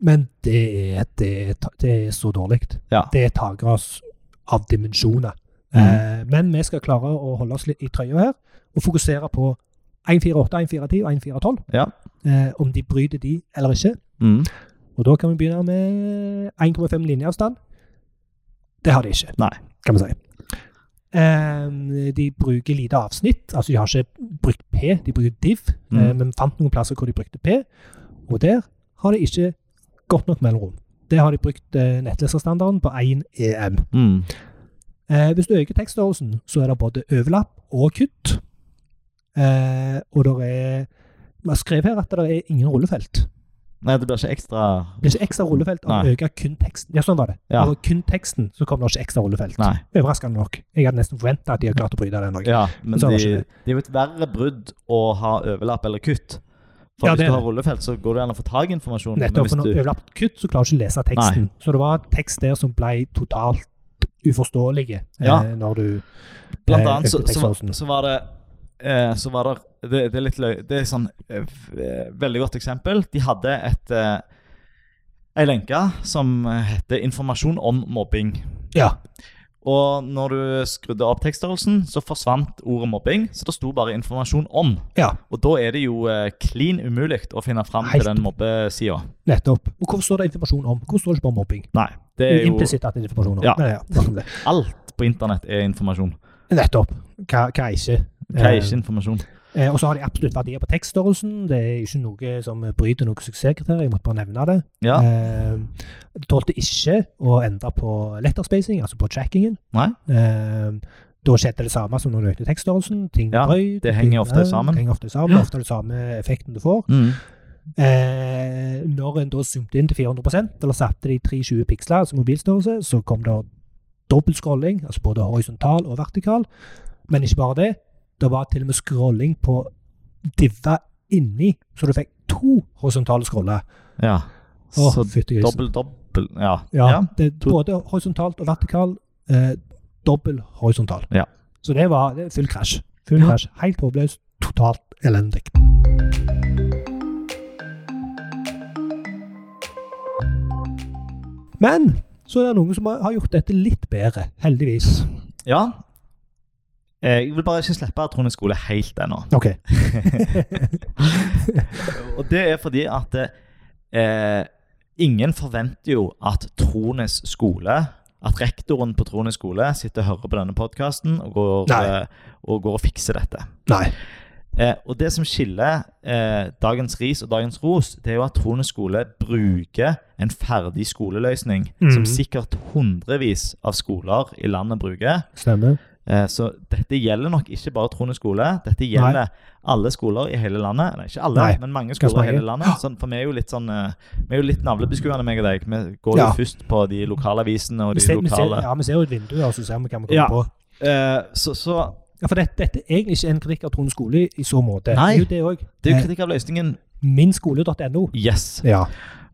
men det er, det, er ta- det er så dårlig.
Ja.
det er takeras av dimensjoner.
Mhm.
Eh, men vi skal klare å holde oss litt i trøya her, og fokusere på 148, 141 og 142.
Ja.
Eh, om de bryter de eller ikke.
Mm.
Og da kan vi begynne med 1,5 linjeavstand. Det har de ikke,
Nei.
kan vi si. Eh, de bruker lite avsnitt. Altså, de har ikke brukt P, de bruker div.
Mhm.
Eh, men vi fant noen plasser hvor de brukte P, og der har de ikke godt nok mellomrom. Der har de brukt eh, nettleserstandarden på 1 EM.
Mm.
Eh, hvis du øker tekststørrelsen, så er det både overlapp og kutt. Eh, og det er Vi har skrevet her at det er ingen rullefelt.
Nei, det blir ikke ekstra
Det blir ikke ekstra rullefelt om du
Nei.
øker kun teksten. Ja, sånn var det.
Ja.
Om du øker kun teksten, så kommer det ikke ekstra rullefelt.
Nei.
Overraskende nok. Jeg hadde nesten forventa at de hadde klart å bryte den. Norge.
Ja, men
Så
de,
er det
det
ikke det.
er jo et verre brudd å ha overlapp eller kutt. For
Ja, det
hvis
er
du har
det.
rullefelt, så går det an å få tak i informasjonen. men
Nettopp.
hvis
For når
du-
overlapp og kutt, så klarer du ikke å lese teksten. Så det var tekst der som ble totalt uforståelig eh,
Ja.
når du
Blant
eh,
annet så,
økte
så,
tekststørrelsen.
så var det eh, så var det, det, det er litt løy, det er sånn eh, f- eh, veldig godt eksempel. De hadde et eh, ei lenke som heter 'Informasjon om mobbing'.
Ja.
Og når du skrudde opp tekststørrelsen, så forsvant ordet mobbing. Så det sto bare 'informasjon om'.
ja.
Og da er det jo eh, klin umulig å finne fram
Helt-
til den mobbesida.
Nettopp. Og hvorfor står det informasjon om? Hvorfor står det ikke bare mobbing?
Nei. Det er jo
Implisitt at det er informasjon om.
Ja.
Men ja, nok om det.
Alt på internett er informasjon.
Nettopp. Hva, hva er ikke?
Hva er ikke informasjon?
Eh, og så har de absolutt verdier på tekststørrelsen. Det er ikke noe som bryter noe suksesskriterium. Jeg måtte bare nevne det.
Ja.
Eh, de tålte ikke å endre på letterspacing, altså på trackingen.
Nei.
Eh, da skjedde det samme som når du økte tekststørrelsen. Ting
Ja,
brøy,
det henger ofte sammen.
Det henger ofte sammen. Ofte er det samme effekten du får.
Mm.
Eh, når en da zoomte inn til 400 eller satte de 320 piksler, altså mobilstørrelse, så kom det dobbelt scrolling, altså både horisontal og vertikal. Men ikke bare det. Det var til og med scrolling på diva inni, så du fikk to horisontale scroller.
Ja.
Å,
Så
fytti grisen.
dobbel, dobbel Ja.
Ja,
ja.
det,
to-
både horisontalt og vertikal. Eh, dobbel horisontal.
Ja.
Så det var det, er full krasj. Full
Ja.
krasj. Helt håpløst. Totalt elendig. Men så er det noen som har- har gjort dette litt bedre, heldigvis.
Ja. Eh, Jeg vil bare ikke slippe Trond skole helt ennå.
Ok.
Og det er fordi at eh, ingen forventer jo at Trones skole at rektoren på Trones skole sitter og hører på denne podkasten og, går,
Nei.
eh, og går og fikser dette.
Nei.
Eh, og det som skiller eh, dagens ris og dagens ros, det er jo at Trones skole bruker en ferdig skoleløsning som
Mhm.
sikkert hundrevis av skoler i landet bruker.
Stemmer.
Eh, Så dette gjelder nok ikke bare Trone skole. Dette gjelder alle skoler i hele landet. Nei, ikke alle,
Nei,
men mange
ganske
skoler i hele
mange.
landet. Sånn, for vi er jo litt sånn eh, Vi er jo litt navlebeskuende, meg og deg. Vi går
Ja.
jo først på de lokalavisene og
Vi
de
ser, vi ser,
lokale
ja, vi ser jo et vindu, og så ser vi hva vi kommer
Ja.
på.
Eh, Så, så
Ja, For dette, dette er egentlig ikke en kritikk av Trond skole i- i så måte.
Nei.
Jo, det òg.
det er jo kritikk av løsningen.
Minskole.no.
Yes.
Ja.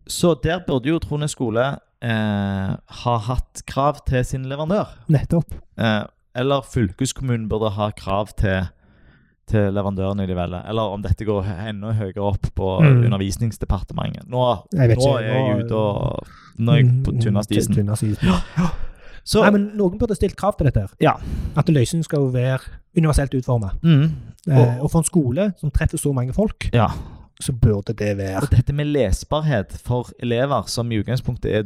Så der burde jo Trone skole eh, har hatt krav til sin leverandør.
Nettopp.
Eh, eller fylkeskommunen burde ha krav til, til leverandørene de velger. Eller om dette går enda høyere opp på
Mm.
Undervisningsdepartementet. Nå,
Jeg vet
nå
ikke,
er jeg
nå-
ute og Nå er jeg på tynneste
Mm,
isen.
Tynneste isen.
Så
Nei, men noen burde stilt krav til dette. her.
Ja.
At løsningen skal jo være universelt utforma.
mm,
Eh, og for en skole som treffer så mange folk,
Ja.
så burde det være
Og dette med lesbarhet for elever som i utgangspunktet er,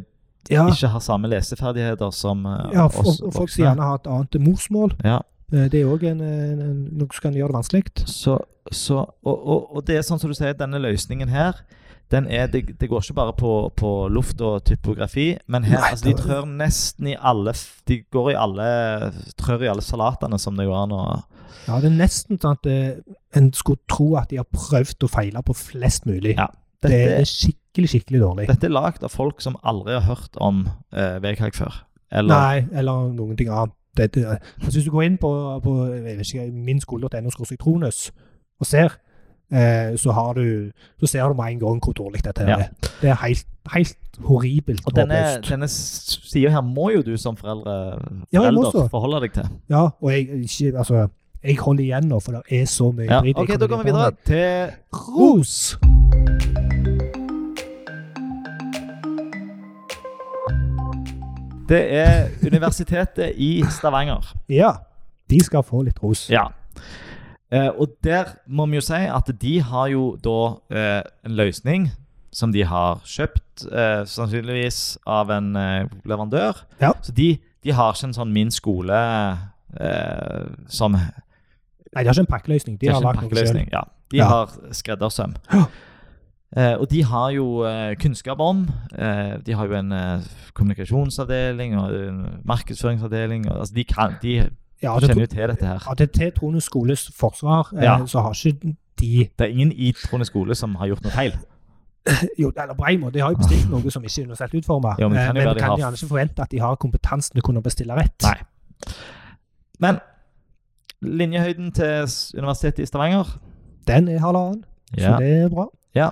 Ja,
ikke har samme leseferdigheter som eh,
ja og,
oss
og folk som
voksne.
gjerne har et annet morsmål.
Ja.
Eh, Det er òg en, en, en, noe som kan gjøre det vanskelig.
Så, så, og, og, og det er sånn som du sier, denne løsningen her den er, det, det går ikke bare på, på luft og typografi, men her,
Nei,
altså, de
det-
trør nesten i alle f- De går i alle trør i alle salatene som det går an å
Ja, det er nesten sånn at eh, en skulle tro at de har prøvd og feila på flest mulig.
Ja,
det
Dette,
er skikkelig, skikkelig dårlig.
dette er lagd av folk som aldri har hørt om eh, VKG før. Eller
Nei, eller noen ting annet. Det, det, altså, hvis du går inn på, på jeg vet ikke, minskole.no skråstrykronus og ser, eh, så, har du, så ser du med en gang hvor dårlig dette her
Ja.
er. Det er helt, helt horribelt
Og denne,
håpløst.
denne s- sida her må jo du som foreldre,
Ja, jeg må
forelder
også.
forholde deg til.
Ja, og jeg, ikke, altså, jeg holder igjen nå, for det er så mye
Ja.
dritt jeg
OK,
kan
da går vi
ikke
videre
ta
til
med. Ros!
Det er Universitetet i Stavanger.
Ja, de skal få litt ros.
Ja. Eh, og der må vi jo si at de har jo da eh, en løsning som de har kjøpt, eh, sannsynligvis av en eh, leverandør.
Ja.
Så de, de har ikke en sånn Min skole eh, som
Nei, de har ikke en pakkeløsning. De
det er
har
ikke en
lagd noe selv.
pakkeløsning. Ja. De
Ja.
har
(gasps)
skreddersøm.
Ja.
Eh, og de har jo eh, kunnskap om eh, De har jo en eh, kommunikasjonsavdeling og en markedsføringsavdeling. Og, altså, de, kan, de
Ja, det,
kjenner jo til dette her.
ja, det er til Trone skoles forsvar, eh,
Ja.
så har ikke de
Det er ingen i Trone skole som har gjort noe feil.
Jo, eller på en måte, de har jo bestilt noe som ikke er universelt utforma.
Ja, men
men
det kan jo
kan
være
de
de har-
gjerne ikke forvente at de har kompetansen til å kunne bestille rett.
Nei. Men linjehøyden til s- Universitetet i Stavanger
Den er halvannen, så det er bra.
Ja.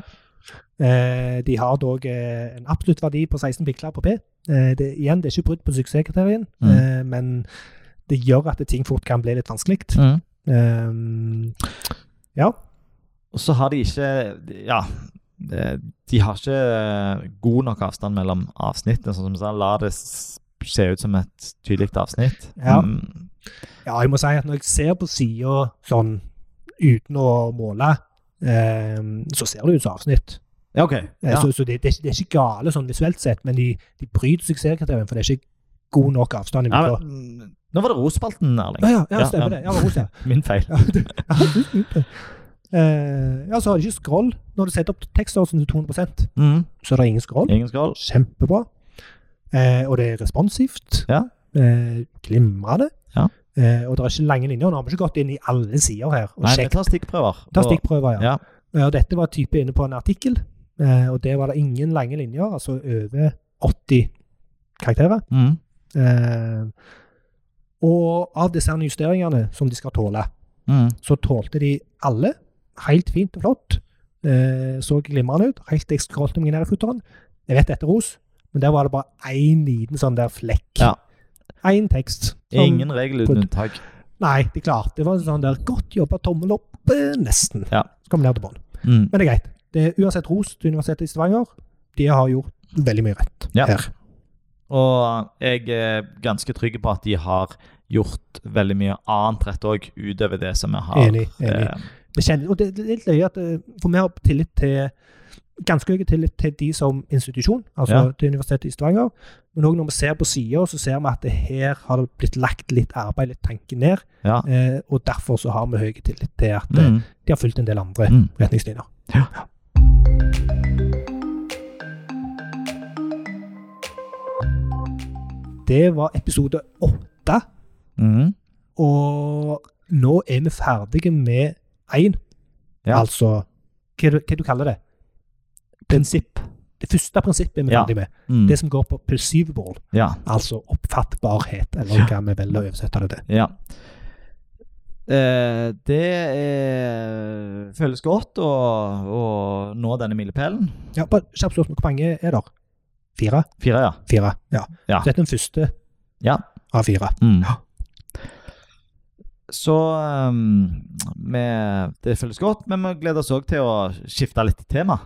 Eh, de har dog eh, en absolutt verdi på 16 pikler på P. Eh, det, igjen, det er ikke brudd på suksesskriterien,
Mm.
eh, men det gjør at ting fort kan bli litt vanskelig.
Mm.
Eh, ja.
Og så har de ikke Ja. eh, De har ikke eh, god nok avstand mellom avsnittene. Sånn som sånn, La det s- se ut som et tydelig avsnitt.
Ja.
Mm,
ja, jeg må si at når jeg ser på sida sånn uten å måle, eh, så ser det ut som avsnitt.
ja, OK.
Eh,
Ja.
Så, så det, det, er ikke- det er ikke gale sånn visuelt sett, men de, de bryter suksesskriterien, for det er ikke god nok avstand.
Ja,
imellom.
men, mm, nå var det Rospalten, Erling.
Ja, ja, ja,
Ja,
stemmer
ja.
det. Ja, det var hos deg.
Min feil.
Ja, du- ja, du stemte. Eh, ja, så har de ikke scroll. Når du setter opp tekststørrelsen til 200
Mm.
så er det ingen scroll.
Ingen skål.
Kjempebra. Eh, og det er responsivt.
Ja.
Eh, Glimrende.
Ja.
Eh, og det er ikke lange linjer. Nå har vi ikke gått inn i alle sider her og
Nei, vi
sjekket.
tar stikkprøver.
Ta
Og-
stikkprøver, ja.
Ja.
Eh, og dette var type inne på en artikkel, eh, og der var det ingen lange linjer, altså over 80 karakterer.
Mm.
Eh, og av disse her justeringene som de skal tåle,
Mm.
så tålte de alle. Helt fint og flott. Eh, så glimrende ut. Helt til jeg scrollet meg ned i futteren. Jeg vet dette er ros, men der var det bare én liten sånn der flekk.
Ja.
Én tekst. som-
Ingen regel uten unntak.
Nei, de klarte. Det var en sånn der godt jobba tommel opp, eh, nesten.
Ja.
Så kom vi ned til bånn.
Mm.
Men det er greit. Det er uansett ros til Universitetet i Stavanger. De har gjort veldig mye rett
Ja.
her.
Og jeg er ganske trygg på at de har gjort veldig mye annet rett òg, utover det som vi har.
Enig, enig.
Eh,
Det kjenner, og det, det er litt løye at eh, For vi har tillit til ganske høy tillit til de som institusjon, altså
Ja.
til Universitetet i Stavanger. Men òg når vi ser på sida, så ser vi at det her har det blitt lagt litt arbeid, litt tanke ned.
Ja.
Eh, og derfor så har vi høy tillit til at eh,
Mm.
de har fulgt en del andre
Mm.
retningslinjer. Det var episode åtte,
Mm.
og nå er vi ferdige med én.
Ja.
Altså hva, du- hva du kaller det? Prinsipp. Det første prinsippet er vi
Ja.
ferdig med.
Mm.
Det som går på perceivable,
Ja.
altså oppfattbarhet, eller hva vi velger å oversette det til.
ja. Eh, det er, føles godt å, å nå denne milepælen.
Ja, bare Kjapt spørsmål, hvor mange er der? Fire?
Fire, ja.
Fire, ja.
Ja.
Dette er den første
Ja.
av fire.
Mm.
Ja.
Så ehm, vi- det føles godt, men vi gleder oss òg til å skifte litt tema.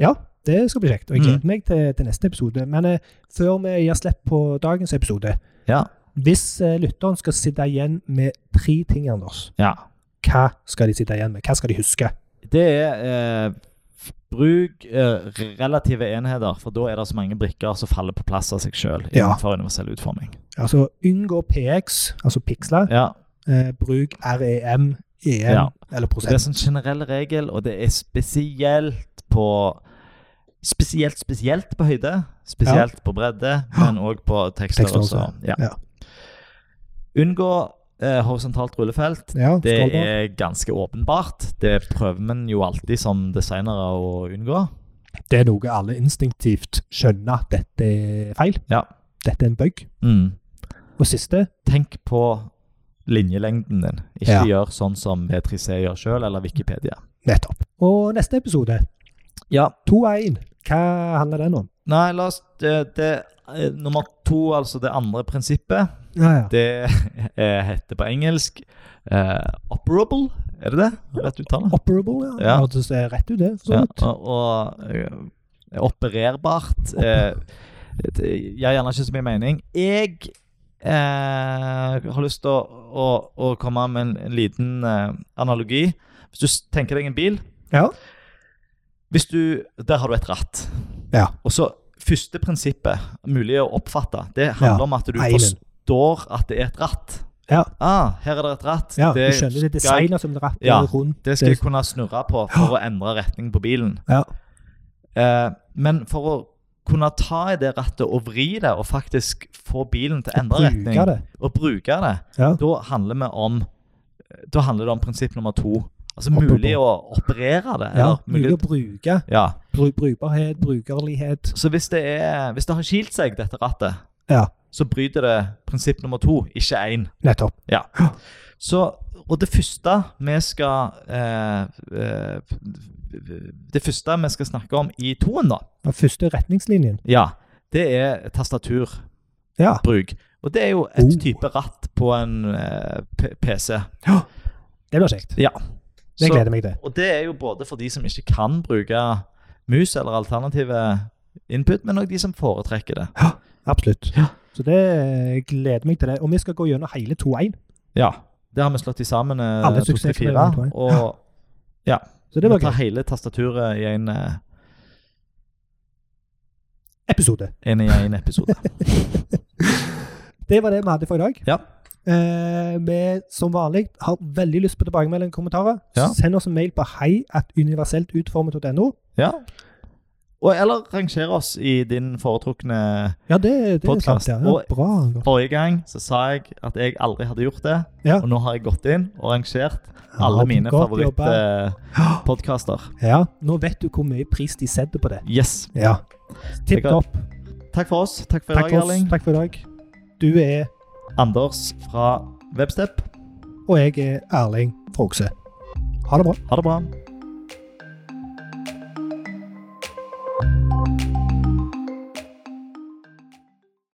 Ja, det skal bli kjekt. Og jeg
Mm.
gleder meg til, til neste episode. Men eh, før vi gir slipp på dagens episode
Ja.
Hvis eh, lytteren skal sitte igjen med tre ting, Anders,
ja.
hva skal de sitte igjen med? Hva skal de huske?
Det er eh, f- Bruk eh, relative enheter, for da er det så mange brikker som faller på plass av seg sjøl
Ja.
innenfor universell utforming.
Altså unngå PX, altså piksler.
Ja,
Eh, bruk REM, EM
Ja.
E eller
så Det er
prosent.
sånn generell regel, og det er spesielt på Spesielt spesielt på høyde, spesielt på bredde, men òg på tekster.
Tekster også,
også. Ja.
ja.
Unngå eh, horisontalt rullefelt.
Ja,
Det
skål da.
er ganske åpenbart. Det prøver man jo alltid som designere å unngå.
det er noe alle instinktivt skjønner at dette er feil.
Ja.
Dette er en bug.
Mm.
Og siste
tenk på linjelengden din. Ikke
Ja.
gjør sånn som V3C gjør sjøl, eller Wikipedia.
nettopp. Og neste episode,
Ja.
2-1, hva handler den om?
Nei, la oss det, det, eh, Nummer to, altså det andre prinsippet,
Ja, ja.
det (laughs) eh, heter på engelsk eh, operable. Er det det? Rett uttale?
Operable, ja.
Ja.
Hørtes det rett ut, det. for så
Ja,
vidt.
og og eh, opererbart. Eh, det gir gjerne ikke så mye mening. Jeg eh, har lyst til å, å, å komme med en, en liten eh, analogi. Hvis du s- tenker deg en bil
Ja.
Hvis du, Der har du et ratt.
Ja.
Og så Første prinsippet, mulig å oppfatte, det handler
Ja,
om at du
eilen.
forstår at det er et ratt.
Ja.
Ah, her er det et ratt.
ja
det,
du skjønner det er
skal jeg-
designet som rattet
Ja,
rundt.
det skal jeg kunne snurre på for å endre retning på bilen.
Ja.
Eh, men for å kunne ta i det rattet og vri det, og faktisk få bilen til å endre
bruke
retning,
det.
og bruke det,
Ja.
da handler vi om da handler det om prinsipp nummer to. Altså
Oppe
mulig
på.
å operere det.
Ja,
eller
mulig
mulig,
å bruke.
ja.
Bru- Brukbarhet, brukerlighet.
Så hvis det, er, hvis det har skilt seg, dette rattet,
Ja,
så bryter det prinsipp nummer to, ikke én.
nettopp.
Så, og det første vi skal eh, eh, Det første vi skal snakke om i toen, da,
Den første retningslinjen.
ja, det er tastatur.
Ja.
bruk. Og det er jo et
Oh.
type ratt på en eh, P- PC.
Det blir kjekt.
Ja.
Det
Så-
gleder jeg meg til.
Og det er jo både for de som ikke kan bruke mus eller alternative input, men òg de som foretrekker det.
Absolutt.
Ja.
Så det jeg gleder meg til det. Og vi skal gå gjennom hele 2-1.
Ja. Det har vi slått i sammen eh,
Alle
to til
suksesskriteriene, tror
fire.
jeg.
Og
Så det
vi
blir
tar
gøy.
hele tastaturet i en, eh,
Episode.
en, i en
(laughs)
episode.
Det var det vi hadde for i dag.
Ja.
Eh, vi som vanlig har veldig lyst på tilbakemelding og kommentarer.
Ja.
Send oss en mail på hei at universeltutformet.no.
ja. Og eller ranger oss i din foretrukne
Ja, det, det er
Podcast.
sant. Ja. Ja,
Og-
bra. Anders.
Forrige gang så sa jeg at jeg aldri hadde gjort det,
Ja.
og nå har jeg gått inn og rangert alle
Ja,
mine
godt jobba.
favorittpodkaster.
(gasps) Ja, nå vet du hvor mye pris de setter på det.
Yes.
Ja. Tipp
Sikkert.
topp.
Takk for oss. Takk for i
Takk
dag,
for oss.
Erling.
Takk for i dag. Du er
Anders fra Webstep.
Og jeg er Erling Frogse. Ha det bra.
Ha det bra.